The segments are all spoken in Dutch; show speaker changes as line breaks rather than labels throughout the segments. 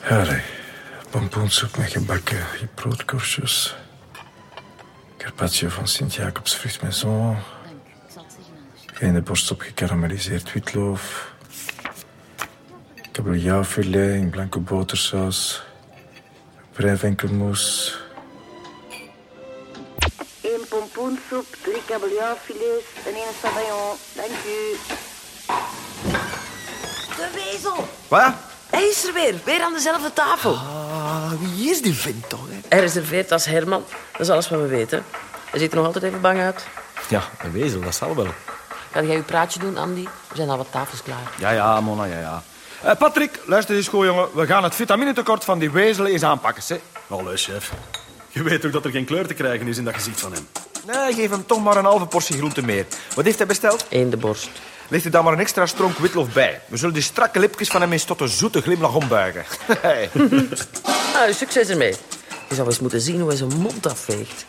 Harry, pompoensoep met gebakken broodkorstjes. Carpaccio van Sint-Jacobs vruchtmaison. Ene borst op gekarameliseerd witloof. Kabeljauwfilet in blanco botersaus. Brijvenkelmoes.
Eén pompoensoep, drie kabeljauwfilets en één sabayon. Dank u. De wezel!
Wat?
Hij is er weer, weer aan dezelfde tafel.
Ah, wie is die vent toch? Hè?
Hij reserveert als Herman. Dat is alles wat we weten. Hij ziet er nog altijd even bang uit.
Ja, een wezel, dat zal wel.
Ga jij je praatje doen, Andy? Er zijn al wat tafels klaar.
Ja, ja, Mona, ja, ja.
Eh, Patrick, luister eens goed, jongen. We gaan het vitaminetekort van die wezelen eens aanpakken, hè.
eh,
Allee, chef. Je weet toch dat er geen kleur te krijgen is in dat gezicht van hem.
Nee, geef hem toch maar een halve portie groente meer. Wat heeft hij besteld?
Eén de borst.
Ligt er dan maar een extra stronk witlof bij. We zullen die strakke lipjes van hem eens tot een zoete glimlach ombuigen.
Nou, succes ermee. Je zal eens moeten zien hoe hij zijn mond afveegt.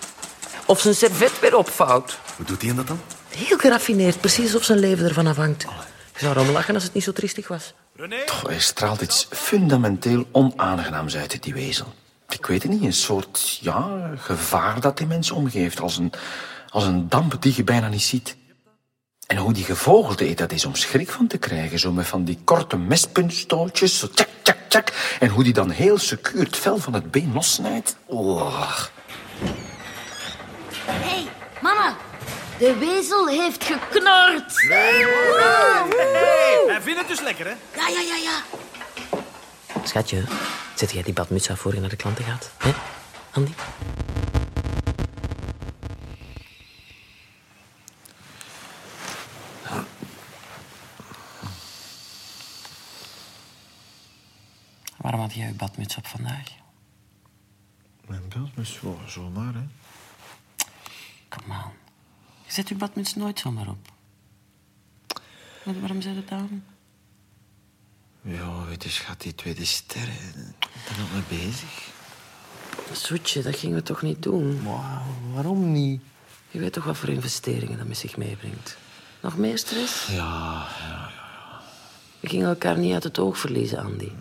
Of zijn servet weer opvouwt.
Hoe doet hij dat dan?
Heel geraffineerd, precies of zijn leven ervan afhangt. Je zou erom lachen als het niet zo triestig was.
Toch, er straalt iets fundamenteel onaangenaams uit, uit die wezel. Ik weet het niet, een soort ja, gevaar dat die mens omgeeft. Als een, als een damp die je bijna niet ziet. En hoe die gevogelde eet, dat is om schrik van te krijgen. Zo met van die korte mespuntstootjes, zo tjak, tjak, tjak. En hoe die dan heel secuur het vel van het been lossnijdt. Oh.
Hé, hey, mama. De wezel heeft geknord.
Hij vindt het dus lekker, hè?
Ja, ja, ja, ja.
Schatje, zet jij die badmuts af voor je naar de klanten gaat? Hè, Andy? Waarom had jij je badmuts op vandaag?
Mijn beeld is zomaar, hè.
Kom aan. Je zet je badmuts nooit zomaar op. Wa- Waarom zet het aan?
Ja, weet je, schat, die tweede sterren. Daar ben ik mee bezig.
Zoetje, dat gingen we toch niet doen?
waarom niet?
Je weet toch wat voor investeringen dat met zich meebrengt? Nog meer stress? Ja, ja, ja. We gingen elkaar niet uit het oog verliezen, Andy.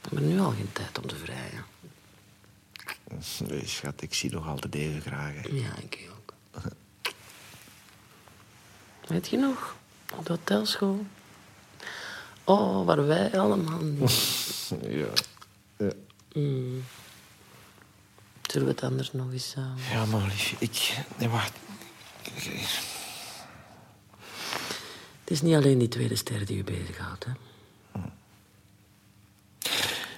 We hebben nu al geen tijd om te vrijen.
Nee, schat, ik zie nog altijd even graag. hè.
Ja, ik ook. Weet je nog? Op de hotelschool. Oh, waar wij allemaal niet. Hmm.
Ja.
Zullen we het anders nog eens eh, samen?
Ja, maar liefje, ik... Nee, wacht. Ik-
Het is niet alleen die tweede ster die je bezighoudt, hè?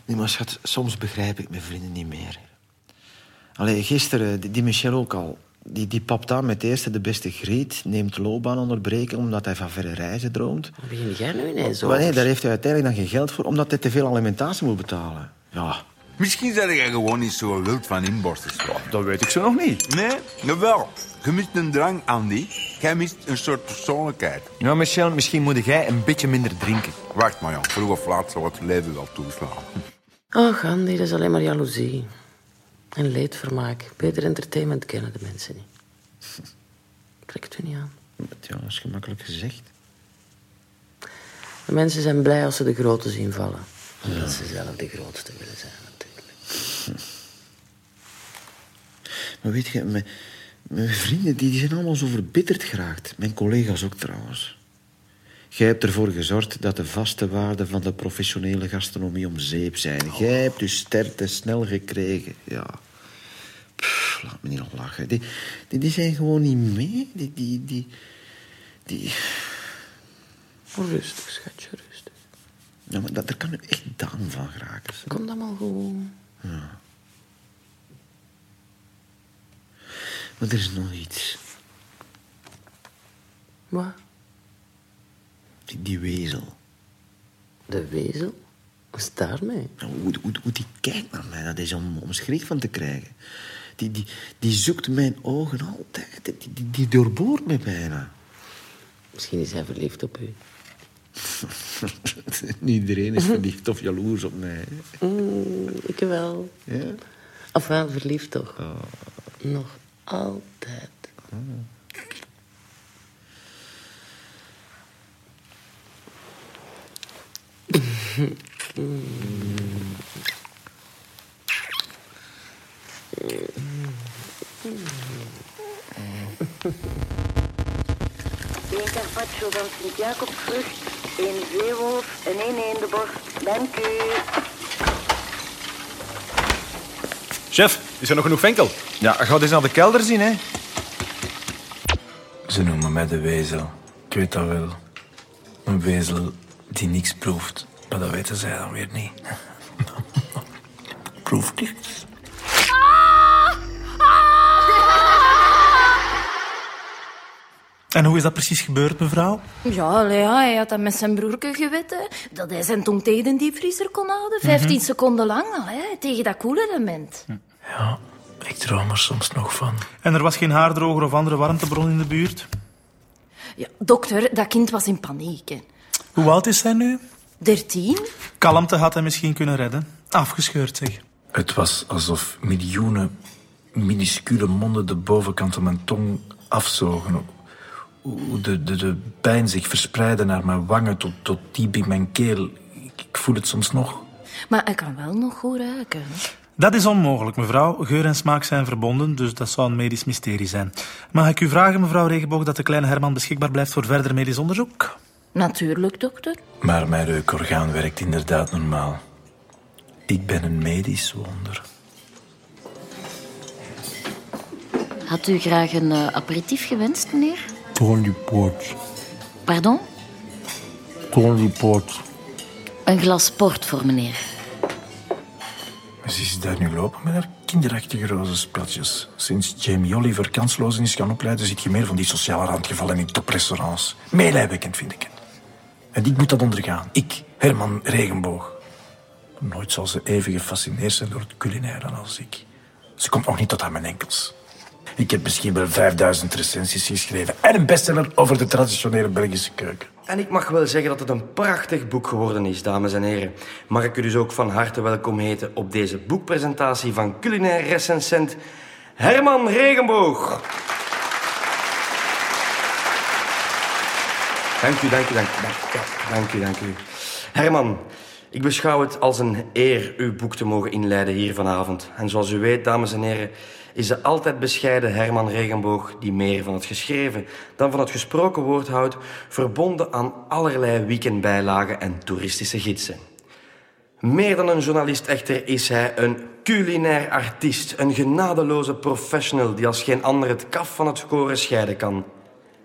Nee, maar schat, soms begrijp ik mijn vrienden niet meer. Allee, gisteren, die, die Michel ook al. Die, die papt aan met de eerste de beste griet, neemt loopbaan onderbreken omdat hij van verre reizen droomt.
Waar begin jij nu ineens
Maar nee,
over?
daar heeft hij uiteindelijk dan geen geld voor, omdat hij te veel alimentatie moet betalen. Ja.
Misschien zijn jij gewoon niet zo wild van inborstenslag.
Dat weet ik zo nog niet.
Nee, jawel. Je mist een drang, Andy. Jij mist een soort persoonlijkheid.
Nou, Michel, misschien moet jij een beetje minder drinken.
Wacht maar, jong. Vroeg of laat zal het leven wel toeslaan.
Ach, Andy, Oh, dat is alleen maar jaloezie. En leedvermaak. Beter entertainment kennen de mensen niet. Trek het u niet aan.
Ja, dat is gemakkelijk gezegd.
De mensen zijn blij als ze de grote zien vallen. Omdat ze zelf de grootste willen zijn, natuurlijk.
Maar weet je, mijn, mijn vrienden die, die zijn allemaal zo verbitterd geraakt. Mijn collega's ook trouwens. Jij hebt ervoor gezorgd dat de vaste waarden van de professionele gastronomie om zeep zijn. Jij hebt je ster te snel gekregen. Ja. Pff, laat me niet nog lachen. Die, die, die zijn gewoon niet mee. Die, die, die, die...
Oh, Rustig, schatje, rustig.
Ja, maar dat, daar kan ik echt daan van geraken. zeg.
Komt allemaal goed.
Maar er is nog iets.
Wat?
Die, die wezel.
De wezel? Wat is daarmee?
Nou, Hoe, hoe, hoe die kijkt naar mij, dat is om, om schrik van te krijgen. Die, die, die zoekt mijn ogen altijd. Die, die, die doorboort me bijna.
Misschien is hij verliefd op u.
Niet iedereen is verliefd of jaloers op mij.
Mm, ik wel.
hè. Ja?
Of wel verliefd toch?
Oh.
Nog altijd.
Eén carpaccio van Sint-Jacobsvrucht, één zeewolf en één eendenborst. Dank u.
Chef, is er nog genoeg venkel?
Ja, Ah, ga eens naar de kelder zien, hè.
Ze noemen mij de wezel. Ik weet dat wel. Een wezel die niks proeft. Maar dat weten zij dan weer niet. proeft niks.
En hoe is dat precies gebeurd, mevrouw?
Ja, allee, ja, hij had dat met zijn broerke geweten. Dat hij zijn tong tegen de diepvriezer kon
Mhm.
houden. 15 seconden lang al, hè, tegen dat koelelement.
Ja, ik droom er soms nog van.
En er was geen haardroger of andere warmtebron in de buurt?
Ja, dokter, dat kind was in paniek. hè.
Hoe oud is hij nu?
13?
Kalmte had hij misschien kunnen redden. Afgescheurd, zeg.
Het was alsof miljoenen minuscule monden de bovenkant van mijn tong afzogen. Hoe de, de, de pijn zich verspreidde naar mijn wangen tot, tot diep in mijn keel. Ik, ik voel het soms nog.
Maar hij kan wel nog goed ruiken.
Dat is onmogelijk, mevrouw. Geur en smaak zijn verbonden, dus dat zou een medisch mysterie zijn. Mag ik u vragen, mevrouw Regenboog, dat de kleine Herman beschikbaar blijft voor verder medisch onderzoek?
Natuurlijk, dokter.
Maar mijn reukorgaan werkt inderdaad normaal. Ik ben een medisch wonder.
Had u graag een eh, aperitief gewenst, meneer?
Tony Port.
Pardon?
Tony Port.
Een glas port voor meneer.
Maar Ze is daar nu lopen met haar kinderachtige rozensplatjes. Sinds Jamie Oliver kanslozen is gaan opleiden, zit je meer van die sociale randgevallen in toprestaurants. Meelijwekkend vind ik het. En ik moet dat ondergaan. Ik, Herman Regenboog. Nooit zal ze even gefascineerd zijn door het culinaire als ik. Ze komt nog niet tot aan mijn enkels. Ik heb misschien wel 5000 recensies geschreven en een bestseller over de traditionele Belgische keuken.
En ik mag wel zeggen dat het een prachtig boek geworden is, dames en heren. Mag ik u dus ook van harte welkom heten op deze boekpresentatie van culinair recensent Herman Regenboog. Dank u, dank u, dank u. Dank, ja, dank u, dank u. Herman, ik beschouw het als een eer uw boek te mogen inleiden hier vanavond. En zoals u weet, dames en heren, Eh, is de altijd bescheiden Herman Regenboog, die meer van het geschreven dan van het gesproken woord houdt, verbonden aan allerlei weekendbijlagen en toeristische gidsen. Meer dan een journalist echter is hij een culinair artiest, een genadeloze professional die als geen ander het kaf van het koren scheiden kan.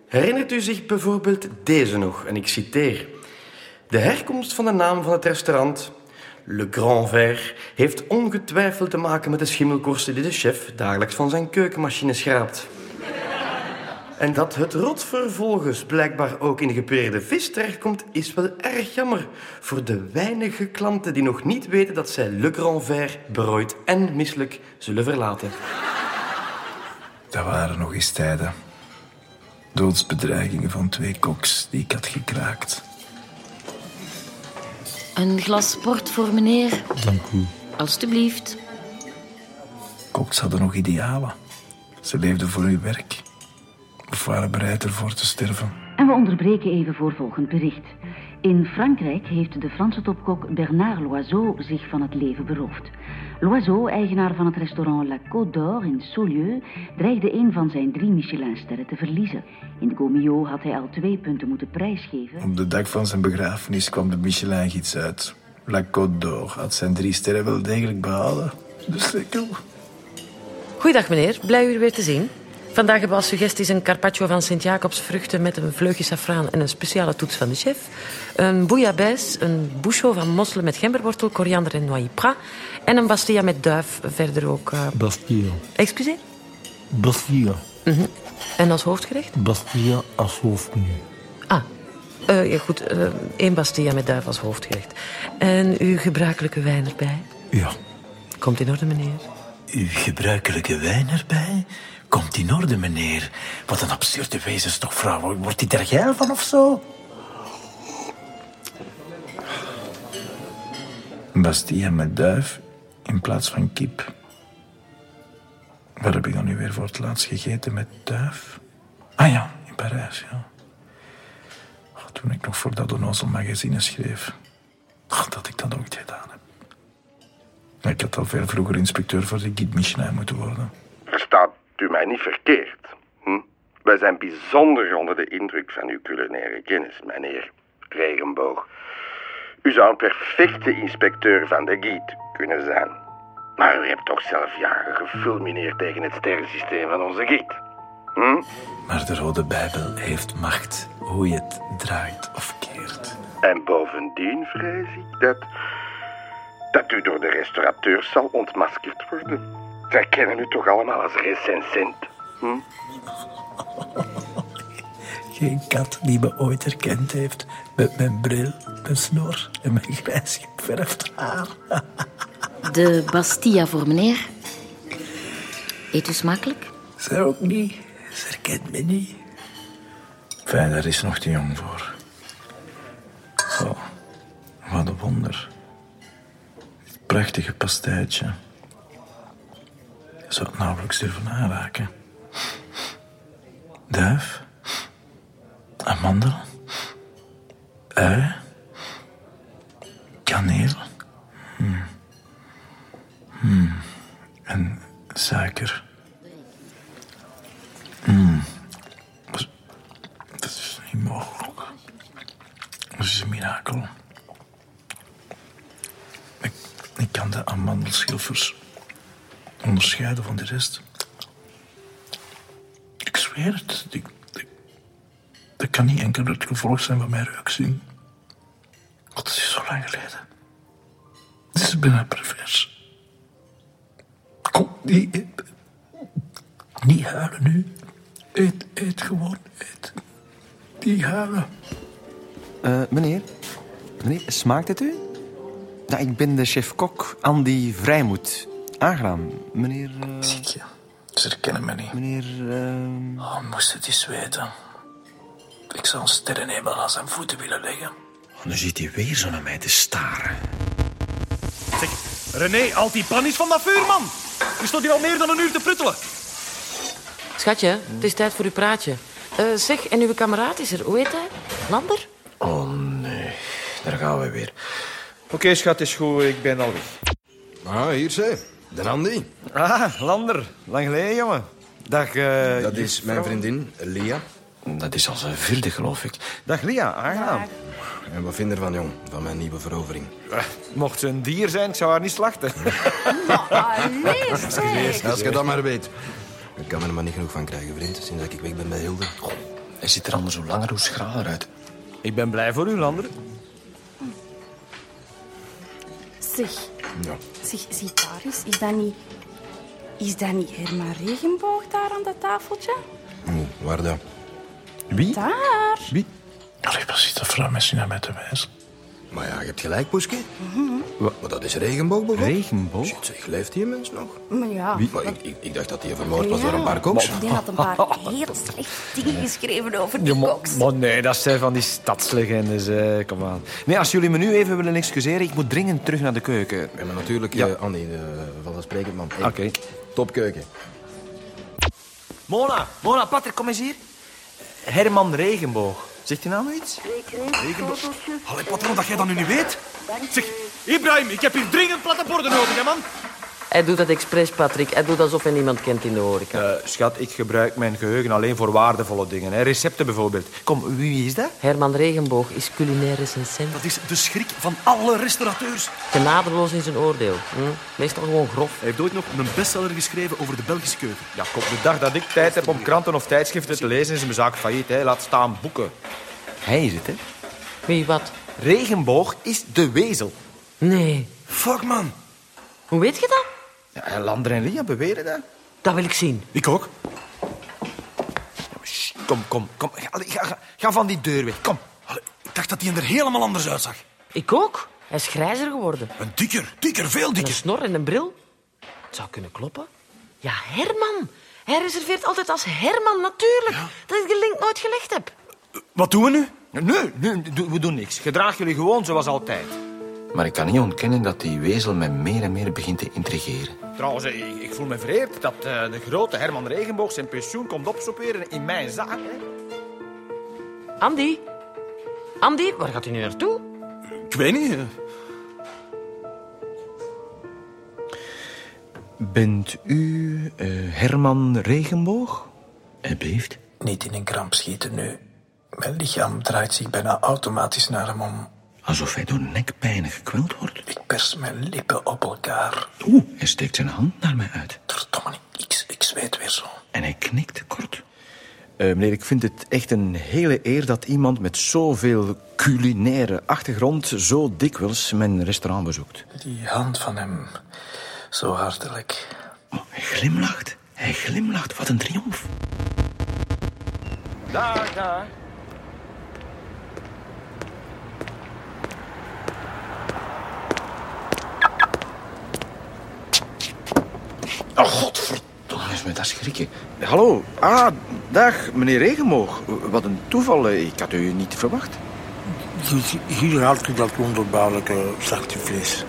Herinnert u zich bijvoorbeeld deze nog, en ik citeer. De herkomst van de naam van het restaurant, Le Grand Ver, heeft ongetwijfeld te maken met de schimmelkorsten die de chef dagelijks van zijn keukenmachine schraapt. En dat het rot vervolgens blijkbaar ook in de gepureerde vis terechtkomt, is wel erg jammer voor de weinige klanten die nog niet weten dat zij Le Grand Ver berooid en misselijk zullen verlaten.
Dat waren nog eens tijden. Doodsbedreigingen van twee koks die ik had gekraakt.
Een glas port voor meneer,
Dank u.
alstublieft.
Koks hadden nog idealen. Ze leefden voor hun werk. Of waren bereid ervoor te sterven.
En we onderbreken even voor volgend bericht. In Frankrijk heeft de Franse topkok Bernard Loiseau zich van het leven beroofd. Loiseau, eigenaar van het restaurant La Côte d'Or in Saulieu, dreigde een van zijn drie Michelinsterren te verliezen. In de Gomio had hij al twee punten moeten prijsgeven.
Op de dag van zijn begrafenis kwam de Michelin-gids uit. La Côte d'Or had zijn drie sterren wel degelijk behouden. De slikkel.
Goeiedag meneer, blij u weer te zien. Vandaag hebben we als suggesties een carpaccio van Sint-Jacobs vruchten met een vleugje safraan en een speciale toets van de chef. Een bouillabaisse, een bouchot van mosselen met gemberwortel, koriander en noyipra. En een bastilla met duif, verder ook... eh,
Bastille.
Excuseer?
Bastille.
Mhm. En als hoofdgerecht?
Bastille als hoofdmenu.
Ah, eh, ja, goed, eh, één bastilla met duif als hoofdgerecht. En uw gebruikelijke wijn erbij.
Ja.
Komt in orde, meneer.
Uw gebruikelijke wijn erbij? Komt in orde, meneer. Wat een absurde wezens toch, vrouw. Wordt die daar geil van of zo?
Bastia met duif in plaats van kip. Waar heb ik dan nu weer voor het laatst gegeten met duif? Ah ja, in Parijs, ja. Ah, toen ik nog voor dat onnozel magazine schreef. Ah, dat ik dat ooit gedaan heb. Ik had al veel vroeger inspecteur voor de Guide Michelin moeten worden.
Verstaat u mij niet verkeerd? Hm?
Wij zijn bijzonder onder de indruk van uw culinaire kennis, meneer Regenboog. U zou een perfecte inspecteur van de giet kunnen zijn. Maar u hebt toch zelf jaren gefulmineerd tegen het sterrensysteem van onze giet. Hm?
Maar de Rode Bijbel heeft macht, hoe je het draait of keert.
En bovendien vrees ik dat. dat u door de restaurateurs zal ontmaskerd worden. Zij kennen u toch allemaal als recensent? Hm?
Geen kat die me ooit herkend heeft met mijn bril, mijn snor en mijn grijs geverfd haar.
De Bastia voor meneer. Eet u smakelijk?
Zij ook niet. Ze herkent me niet. Fijn, daar is nog te jong voor. Zo, wat een wonder. Dit prachtige pastijtje. Ik zou het nauwelijks durven aanraken. Duif. Amandel. Ui. Kaneel. Hmm. Hmm. En suiker. Hmm. Dat is- Dat is niet mogelijk. Dat is een mirakel. Ik, ik kan de amandelschilfers onderscheiden van de rest. Ik zweer het. Ik, ik- dat kan niet enkel het gevolg zijn van mijn reactie. God, dat is zo lang geleden. Dit is bijna pervers. Kom, niet, niet huilen nu. Eet, eet gewoon, eet. Niet huilen.
Eh, meneer, meneer, smaakt het u? Ja, ik ben de chef-kok Andy Vrijmoed. Aangenaam, meneer... eh, Ziet
je, ze herkennen me niet.
Meneer... ehm,
Oh, moest het eens weten. Ik zou een sterrenhemel aan zijn voeten willen leggen.
Nu zit hij weer zo naar mij te staren.
Zeg, René, al die pan is van dat vuur, man. Je stond hier al meer dan een uur te pruttelen.
Schatje, het is tijd voor uw praatje. Eh, zeg, en uw kameraad is er. Hoe heet hij? Lander?
Oh nee, daar gaan we weer.
Oké, schat, is goed. Ik ben al weg. Ah, hier ze. De Andy.
Ah, Lander. Lang geleden, jongen. Dag, eh,
Dat
je
is mijn
vrouw.
vriendin, Lia. Dat is al zijn vierde, geloof ik.
Dag, Lia. Aangenaam.
En wat vind je ervan, jong? Van mijn nieuwe verovering?
Eh, Mocht ze een dier zijn, ik zou haar niet slachten.
Als je dat maar weet. Ik kan er maar niet genoeg van krijgen, vriend. Sinds dat ik weg ben bij Hilde.
Hij ziet er anders hoe langer hoe schraler uit.
Ik ben blij voor u, Lander.
Zeg,
Ja.
zeg, zie daar eens. Is dat niet... Is dat niet Herman Regenboog daar aan dat tafeltje?
Oeh, waar dan?
Wie?
Daar.
Wie?
Allee, wat zit dat vrouw misschien naar mij te wijzen?
Maar ja, je hebt gelijk, Poeske. Maar dat is regenboog, bijvoorbeeld. Regenboog? Shit, zeg, leeft die mens nog?
Maar ja...
Maar ik, ik, ik dacht dat hij vermoord was
Ja.
door een paar koks.
Die had een paar heel slechte dingen geschreven over die koks.
Maar nee, dat zijn van die stadslegendes. eh, Kom aan.
Nee, als jullie me nu even willen excuseren, ik moet dringend terug naar de keuken.
Ja, maar natuurlijk,
Ja.
eh, Andy, eh, vanzelfsprekend, man. Hey,
Oké.
Topkeuken.
Mona, Mona, Patrick, kom eens hier. Herman Regenboog. Zegt hij nou iets?
Allee, patron, dat jij dat nu niet weet? Zeg, Ibrahim, ik heb hier dringend platte borden nodig, hè, man.
Hij doet dat expres, Patrick. Hij doet alsof hij niemand kent in de horeca.
Eh, schat, ik gebruik mijn geheugen alleen voor waardevolle dingen. Hè. Recepten bijvoorbeeld. Kom, wie is dat?
Herman Regenboog is culinair recensent. Dat is de schrik van alle restaurateurs. Genadeloos in zijn oordeel. Hm? Meestal gewoon grof.
Hij heeft ooit nog een bestseller geschreven over de Belgische keuken.
Ja, kom, de dag dat ik tijd heb om kranten of tijdschriften te lezen, is mijn zaak failliet. Hè. Laat staan boeken.
Hij is het, hè?
Wie, wat?
Regenboog is de wezel.
Nee.
Fuck, man.
Hoe weet je dat?
Ja, Lander en Lia beweren dat.
Dat wil ik zien.
Ik ook. Kom, kom, kom. Ga, allee, ga, ga- ga van die deur weg. Kom.
Ik dacht dat hij er helemaal anders uitzag.
Ik ook. Hij is grijzer geworden.
Een dikker, dikker, veel dikker.
En een snor en een bril. Het zou kunnen kloppen. Ja, Herman. Hij reserveert altijd als Herman, natuurlijk. Dat ik de link nooit gelegd heb.
Wat doen we nu? Nee, nee, do- we doen niks. Gedraag jullie gewoon zoals altijd.
Maar ik kan niet ontkennen dat die wezel mij meer en meer begint te intrigeren.
Trouwens, eh, ik, ik voel me vereerd dat eh, de grote Herman Regenboog zijn pensioen komt opsoeperen in mijn zaak. Hè.
Andy. Andy, waar gaat u nu naartoe?
Ik weet niet.
eh, Bent u Herman Regenboog? Hij beeft.
niet in een kramp schieten nu. Mijn lichaam draait zich bijna automatisch naar hem om.
Alsof hij door nekpijnen gekweld wordt.
Ik pers mijn lippen op elkaar.
Oeh, hij steekt zijn hand naar mij uit.
Ik, ik zweet weer zo.
En hij knikt kort.
Eh, meneer, ik vind het echt een hele eer dat iemand met zoveel culinaire achtergrond zo dikwijls mijn restaurant bezoekt.
Die hand van hem, zo hartelijk.
Oh, Hij glimlacht. Hij glimlacht. Wat een triomf.
Dag, dag.
Oh, godverdomme. is met dat schrikken.
Hallo, ah, dag meneer Regenboog. Wat een toeval, eh, ik had u niet verwacht.
Dus hier had je dat wonderbaarlijke zachte vlees.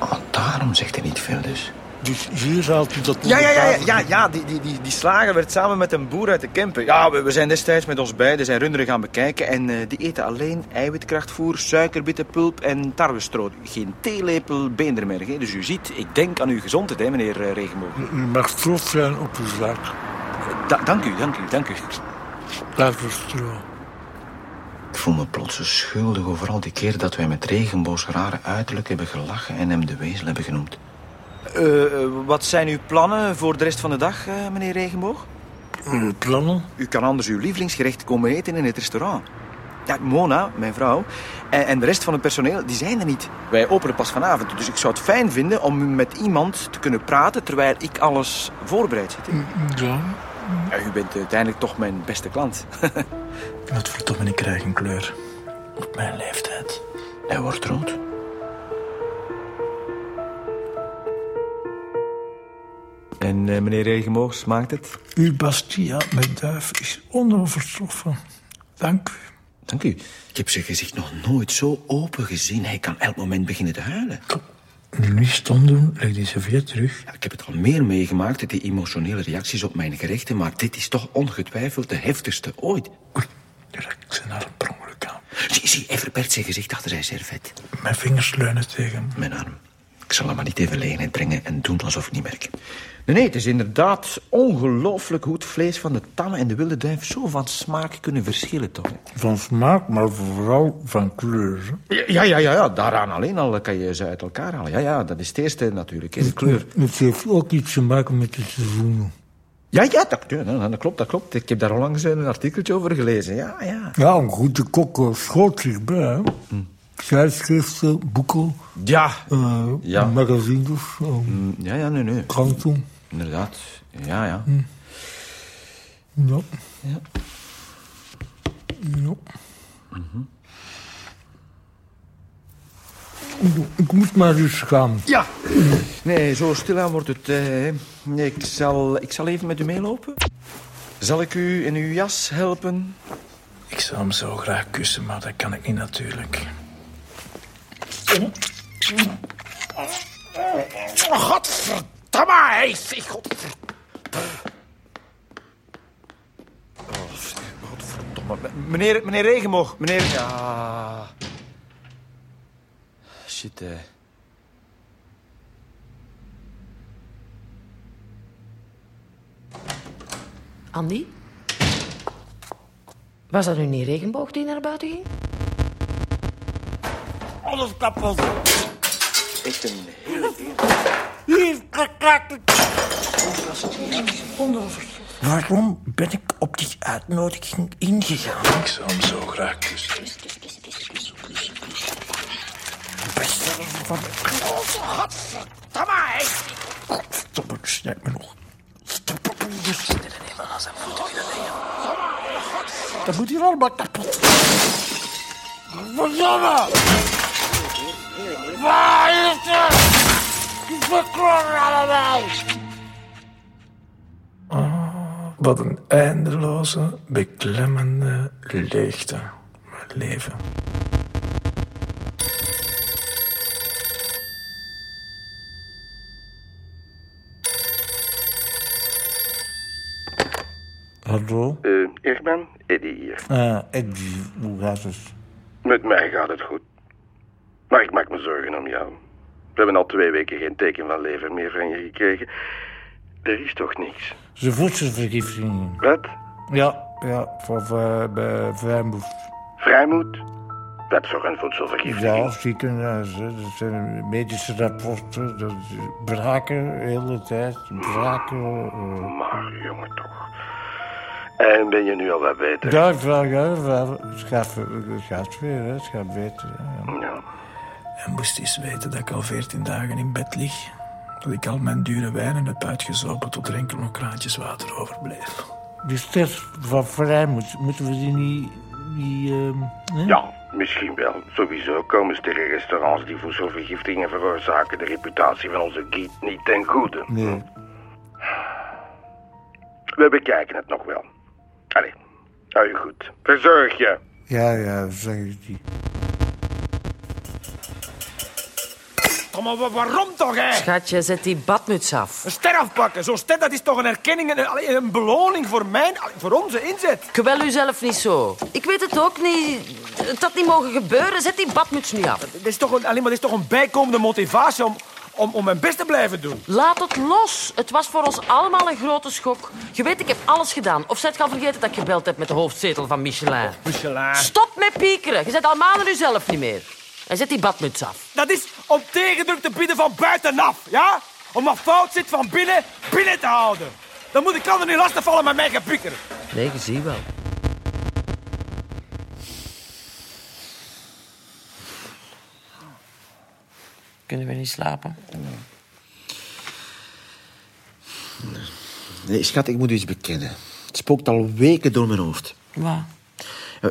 Oh, daarom zegt hij niet veel dus.
Dus hier had je dat
Ja, ja, ja, ja,
wonderbaarlijke-
ja, ja, die, die, die, die slager werd samen met een boer uit de Kempen. Ja, we, we zijn destijds met ons beiden zijn runderen gaan bekijken. En eh, die eten alleen eiwitkrachtvoer, suikerbittenpulp en tarwestroot. Geen theelepel beendermerg. hè. Dus u ziet, ik denk aan uw gezondheid, hè, meneer eh, Regenboog. Eh,
U mag trots zijn op uw zaak.
Da- dank u, dank u, dank u.
Duivelstro.
Ik voel me plots zo schuldig over al die keer dat wij met Regenboog's rare uiterlijk hebben gelachen en hem de wezel hebben genoemd.
Eh, eh, wat zijn uw plannen voor de rest van de dag, eh, meneer Regenboog?
plannen?
U kan anders uw lievelingsgerecht komen eten in het restaurant. Ja, Mona, mijn vrouw, en, en de rest van het personeel, die zijn er niet. Wij openen pas vanavond, dus ik zou het fijn vinden om met iemand te kunnen praten terwijl ik alles voorbereid zit.
Ja.
Ja, u bent uiteindelijk toch mijn beste klant.
Wat verdomme, ik krijg een kleur. Op mijn leeftijd.
Hij wordt rood.
en eh, meneer Regenboog, smaakt het?
Uw Bastia met duif is onovertroffen. Dank u.
Dank u.
Ik heb zijn gezicht nog nooit zo open gezien. Hij kan elk moment beginnen te huilen.
Nu niet stom doen, leg die serviet terug.
Ik heb het al meer meegemaakt, die emotionele reacties op mijn gerechten, maar dit is toch ongetwijfeld de heftigste ooit.
Zijn haar per ongeluk aan.
Zie, zie, hij verbergt zijn gezicht achter zijn servet.
Mijn vingers leunen tegen hem.
Mijn arm. Ik zal hem maar niet in verlegenheid brengen en doen alsof ik niet merk.
Nee, nee, het is inderdaad ongelooflijk hoe het vlees van de tamme en de wilde duif zo van smaak kunnen verschillen, toch?
Van smaak, maar vooral van kleur.
Ja, ja, ja, ja, daaraan alleen al kan je ze uit elkaar halen. Ja, ja, dat is het eerste natuurlijk, hè, de kleur.
Het heeft ook iets te maken met de seizoenen.
Ja, ja, dat, ja, dat dat klopt, dat klopt. Ik heb daar onlangs een artikeltje over gelezen, ja, ja.
Ja, een goede kok eh, schoot zich bij. hè. Tijdschriften, boeken,
Ja,
eh,
Ja.
magazines, eh,
ja, ja, nee, nee.
kranten.
Inderdaad, ja, ja.
Hm. Ja. Ja. Ik moet maar eens gaan.
Ja! Nee, zo stilaan wordt het. eh. Nee, ik, zal, ik zal even met u meelopen. Zal ik u in uw jas helpen?
Ik zou hem zo graag kussen, maar dat kan ik niet natuurlijk.
Godverdamme, hij is... ik- Godver...
Meneer, meneer Regenboog, meneer... Ja... Shit, eh.
Andy? Was dat nu niet regenboog die naar buiten ging?
Alles kapot.
Echt een...
Hier, kakak.
Waarom ben ik op die uitnodiging ingegaan? Ik zou hem zo graag kussen.
Godverdamme, hij is...
Stop, snij me nog.
Dat moet hier allemaal kapot. Verdomme!
Waar is het? Ik ben klaar allemaal.
Wat een eindeloze, beklemmende leegte. Mijn leven.
Hallo?
Eh, Irman, Eddie hier.
Ah, Eddie, hoe gaat het?
Met mij gaat het goed. Maar ik maak me zorgen om jou. We hebben al twee weken geen teken van leven meer van je gekregen. Er is toch niks?
Zijn voedselvergiftiging.
Wat?
Ja, ja, van eh, bij Vrijmoed.
Vrijmoed, Wetszorg en voedselvergiftiging.
Ja, ziekenhuis, hè. dat zijn medische rapporten, dat is braken de hele tijd, braken. eh.
Maar jongen toch. En ben je nu al wat beter?
Ja, ik vraag ja, ik vraag. Het gaat, het gaat weer, hè. het gaat beter. hè.
En moest eens weten dat ik al veertien dagen in bed lig. Dat ik al mijn dure wijnen heb uitgezopen tot er enkel nog kraantjes water overbleef.
Die ster van Vrijmoed, moeten we die niet... Die, ehm, hè?
Ja, misschien wel. Sowieso komen sterren restaurants die voedselvergiftingen veroorzaken de reputatie van onze giet niet ten goede.
Nee.
We bekijken het nog wel. Allee, hou je goed. Verzorg je.
Ja, ja, zeg ik die.
Kom maar, wa- waarom toch, hè?
Schatje, zet die badmuts af.
Een ster afpakken, zo'n ster, dat is toch een erkenning en een, allee, een beloning voor mijn, allee, voor onze inzet.
Kwel u zelf niet zo. Ik weet het ook niet. Het had niet mogen gebeuren. Zet die badmuts nu af.
Dat is toch een, alleen maar, dat is toch een bijkomende motivatie om, om, om mijn best te blijven doen.
Laat het los. Het was voor ons allemaal een grote schok. Je weet, ik heb alles gedaan. Of zet je al vergeten dat ik gebeld heb met de hoofdzetel van Michelin?
Michelin.
Stop met piekeren. Je zet al maanden nu zelf niet meer. En zet die badmuts af.
Dat is om tegendruk te bieden van buitenaf, ja? Om wat fout zit van binnen, binnen te houden. Dan moet ik anderen niet lastig vallen met mijn gepieker.
Nee, je ziet wel. Kunnen we niet slapen?
Nee, schat, ik moet u iets bekennen. Het spookt al weken door mijn hoofd.
Waar?
Eh,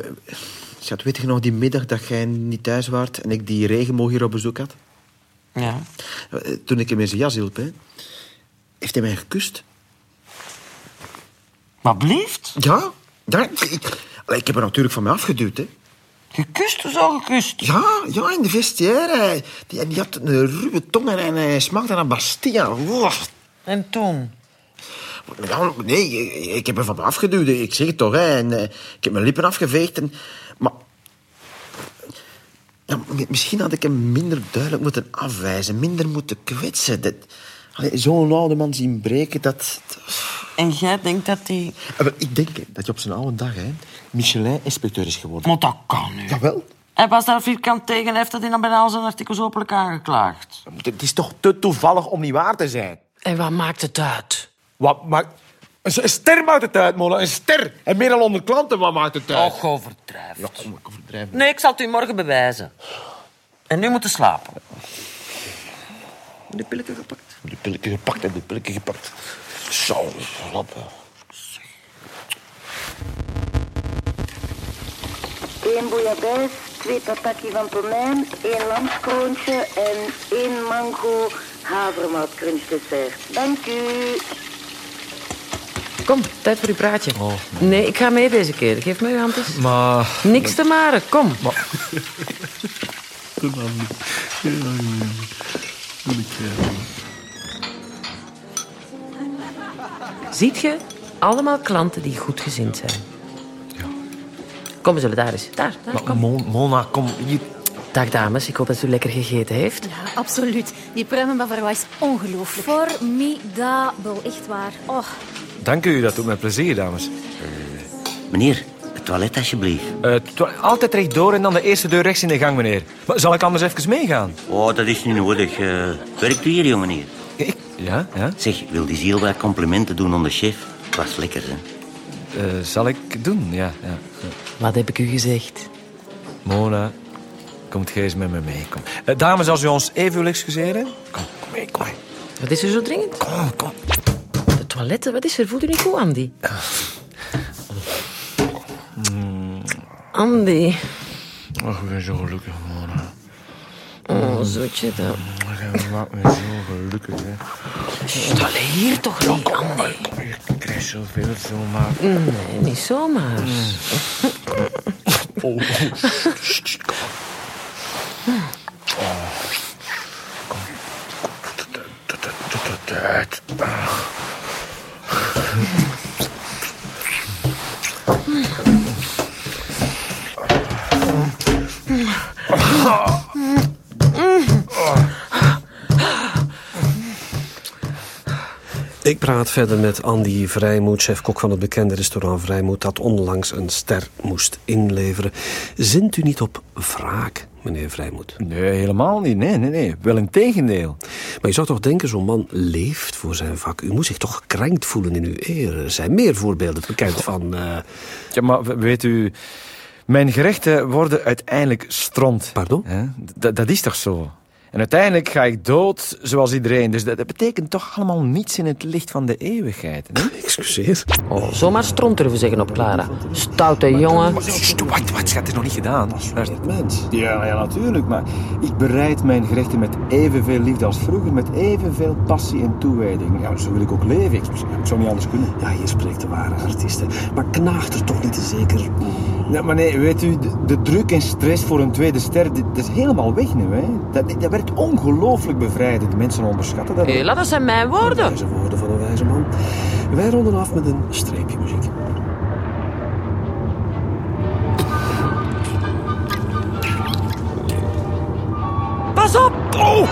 Schat, weet je nog die middag dat jij niet thuis waart en ik die regenboog hier op bezoek had?
Ja.
Eh, Toen ik hem in zijn jas hielp, hè? Heeft hij mij gekust?
Maar blieft?
Ja, ja ik, ik, allee, ik heb hem natuurlijk van mij afgeduwd, hè?
Gekust is al gekust.
Ja, ja, in de vestiaire. Hij- Die, en die had een ruwe tong en, en hij smaakte naar Bastia.
En toen?
Nou, nee, ik- ik heb hem van me afgeduwd. Ik zeg het toch, hè. En, eh, ik heb mijn lippen afgeveegd. En, maar... Ja, mi- misschien had ik hem minder duidelijk moeten afwijzen. Minder moeten kwetsen. Dat, allee, zo'n oude man zien breken, dat... Ah,
En jij denkt dat hij...
Ik denk hè, dat je op zijn oude dag, hè, Michelin-inspecteur is geworden.
Maar dat kan niet.
Jawel.
Hij was daar vierkant tegen en heeft dat in dan bijna al zijn artikels openlijk aangeklaagd.
Het is toch te toevallig om niet waar te zijn?
En wat maakt het uit?
Wat maakt... Een s- een ster maakt het uit, Mola. Een ster. En meer dan onder klanten, wat maakt het uit?
Och, overdrijft. Ja, overdrijft. Nee, ik zal het u morgen bewijzen. En nu moeten slapen. De pilletje gepakt.
De pilletje gepakt en de pilletje gepakt. Zo, lappen.
Eén bouillabaisse, twee papakkie van pomijn, één lamskroontje en één mango havermoutcrunch dessert. Dank u.
Kom, tijd voor uw praatje.
Oh,
nee, ik ga mee deze keer. Geef me uw hand eens.
Ah,
Maar...
Niks te maren, kom.
Doe maar niet. Ja, ja, ja. Doe ik, ja.
Ziet je? Allemaal klanten die goedgezind zijn. Kom, we zullen daar eens. Daar, daar, kom.
Mona, kom.
Dag dames, ik hoop dat u lekker gegeten heeft.
Ja, absoluut. Die pruimenbavarwa is ongelooflijk. Formidabel, echt waar. Oh,
Dank u, dat doet mij plezier, dames. meneer, het toilet alsjeblieft. Eh, altijd rechtdoor en dan de eerste deur rechts in de gang, meneer. Maar zal ik anders even meegaan?
Oh, dat is niet nodig. Eh, werkt u hier, jongen hier? Ik? Ja, ja. Zeg, wil die ziel wat complimenten doen aan de chef? Het was lekker, hè?
Eh, zal ik doen, ja. ja.
Wat heb ik u gezegd?
Mona, komt gij eens met me mee. Kom. Eh, dames, als u ons even wil excuseren. Kom, kom mee, kom mee.
Wat is er zo dringend?
Kom, kom.
De toiletten, wat is er? Voelt u niet goed, Andy?
Mm.
Andy.
Ach, ik ben zo gelukkig, Mona.
Oh, zoetje dat.
Je maakt me zo gelukkig, hè.
Sst, allee, hier toch niet, Andy.
Ik krijg zoveel zomaar. Mm.
Nee, niet zomaar.
Oh. Tijd.
Ik praat verder met Andy Vrijmoed, chef-kok van het bekende restaurant Vrijmoed, dat onlangs een ster moest inleveren. Zint u niet op wraak, meneer Vrijmoed? Nee, helemaal niet. Nee, nee, nee. Wel een tegendeel. Maar je zou toch denken, zo'n man leeft voor zijn vak. U moet zich toch gekrenkt voelen in uw eer. Er zijn meer voorbeelden bekend van...
Ja, maar w- weet u... Mijn gerechten worden uiteindelijk stront. Pardon? Dat, dat is toch zo? En uiteindelijk ga ik dood, zoals iedereen. Dus dat, dat betekent toch allemaal niets in het licht van de eeuwigheid.
Excuseer.
Oh, zomaar stront durven zeggen op Clara. Stoute jongen.
Wat, wat, schat, het is nog niet gedaan. Dat is mens. Ja, ja, natuurlijk, maar ik bereid mijn gerechten met evenveel liefde als vroeger, met evenveel passie en toewijding. Ja, zo wil ik ook leven. Ik, ik zou niet anders kunnen. Ja, je spreekt de ware artiesten. Maar knaagt er toch niet te zeker? Nou, maar nee, weet u, de, de druk en stress voor een tweede ster, dit- dat is helemaal weg nu, hè. Dat, dat werkt ongelooflijk bevrijdend. Mensen onderschatten dat.
Hé, laat dat zijn mijn woorden.
Wijze woorden van een wijze man. Wij ronden af met een streepje muziek.
Pas op! Oh!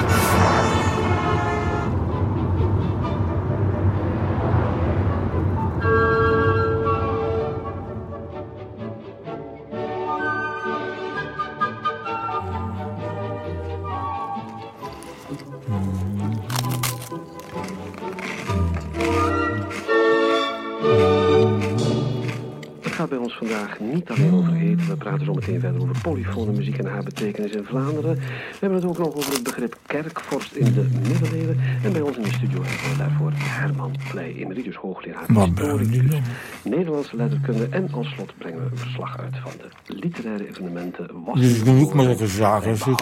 Het gaat bij ons vandaag niet alleen over eten. We praten zo meteen verder over polyfone muziek en haar betekenis in Vlaanderen. We hebben het ook nog over het begrip kerkvorst in de middeleeuwen. En bij ons in de studio hebben we daarvoor Herman Pleij, emeritus hoogleraar
Wat ben je nu dan?
Nederlandse letterkunde. En als slot brengen we een verslag uit van de literaire evenementen. Was
Dus ik moet ook maar lekker zagen, zeg.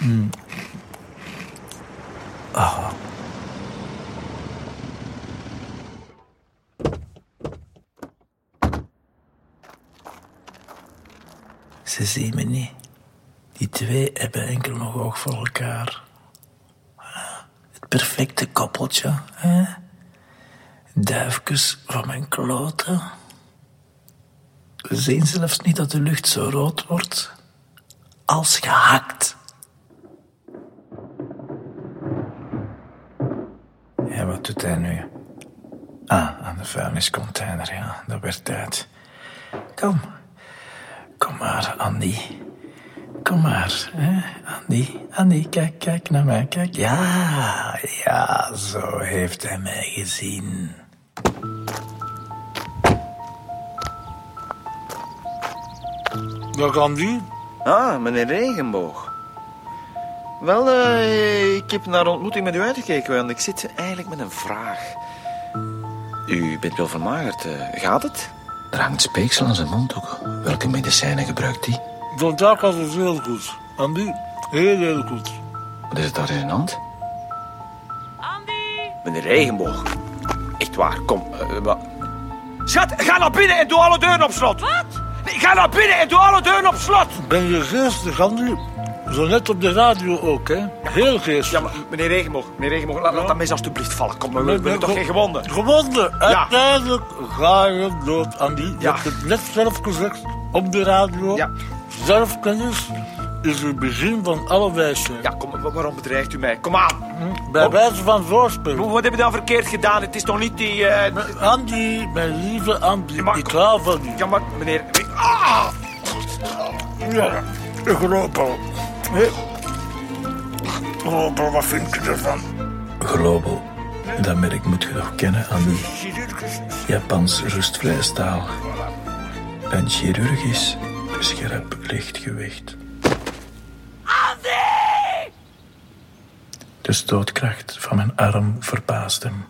Hmm. Ah. Ze zien me niet. Die twee hebben enkel nog oog voor elkaar. Ah, Het perfecte koppeltje, hè? Duifjes van mijn kloten. We zien zelfs niet dat de lucht zo rood wordt als gehakt.
Ja, wat doet hij nu? Ah, aan de vuilniscontainer, ja. Dat werd tijd. Kom. Kom maar, Andy. Kom maar, hè, Andy. Andy, kijk, kijk naar mij, kijk. Ja, ja, zo heeft hij mij gezien.
Dag Andy. Ah, meneer Regenboog. Wel, eh, ik heb naar de ontmoeting met u uitgekeken, want ik zit eigenlijk met een vraag. U bent wel vermagerd, eh, gaat het?
Er hangt speeksel aan zijn mond ook. Welke medicijnen gebruikt hij?
Vandaag was het heel goed. Andy, heel, heel goed.
Wat is het daar in zijn hand?
Meneer Regenboog. Echt waar, kom. eh, wa- Schat, ga naar binnen en doe alle deuren op slot. Wat? ga naar binnen en doe alle deuren op slot.
Ben je geestig, Andy? Zo net op de radio ook, hè? Heel geestig. Ja, maar
meneer Regenboog, meneer Regenboog, laat, laat dat mes alstublieft vallen. Kom, we, we
Nee,
hebben
nee,
toch
go-
geen gewonden?
Gewonden!
Ja.
Uiteindelijk ga je dood, Andy. Je
Ja.
hebt het net zelf gezegd op de radio. Zelfkennis is het begin van alle wijsheid. Hm?
Ja, kom, wa- waarom bedreigt u mij? Kom aan.
Bij
Kom.
wijze van voorspel.
Wat heb je dan verkeerd gedaan? Het is toch niet die... eh,
Andy, mijn lieve Andy, ik hou van u.
Ja, maar meneer... Ah!
Ja, ik loop al. Global, wat vind je ervan?
Global, dat merk moet je toch kennen, Andy. Japans rustvrije staal. Een chirurgisch scherp lichtgewicht. De stootkracht van mijn arm verbaasde hem.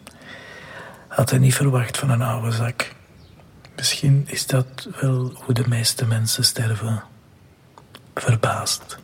Had hij niet verwacht van een oude zak. Misschien is dat wel hoe de meeste mensen sterven. Verbaasd.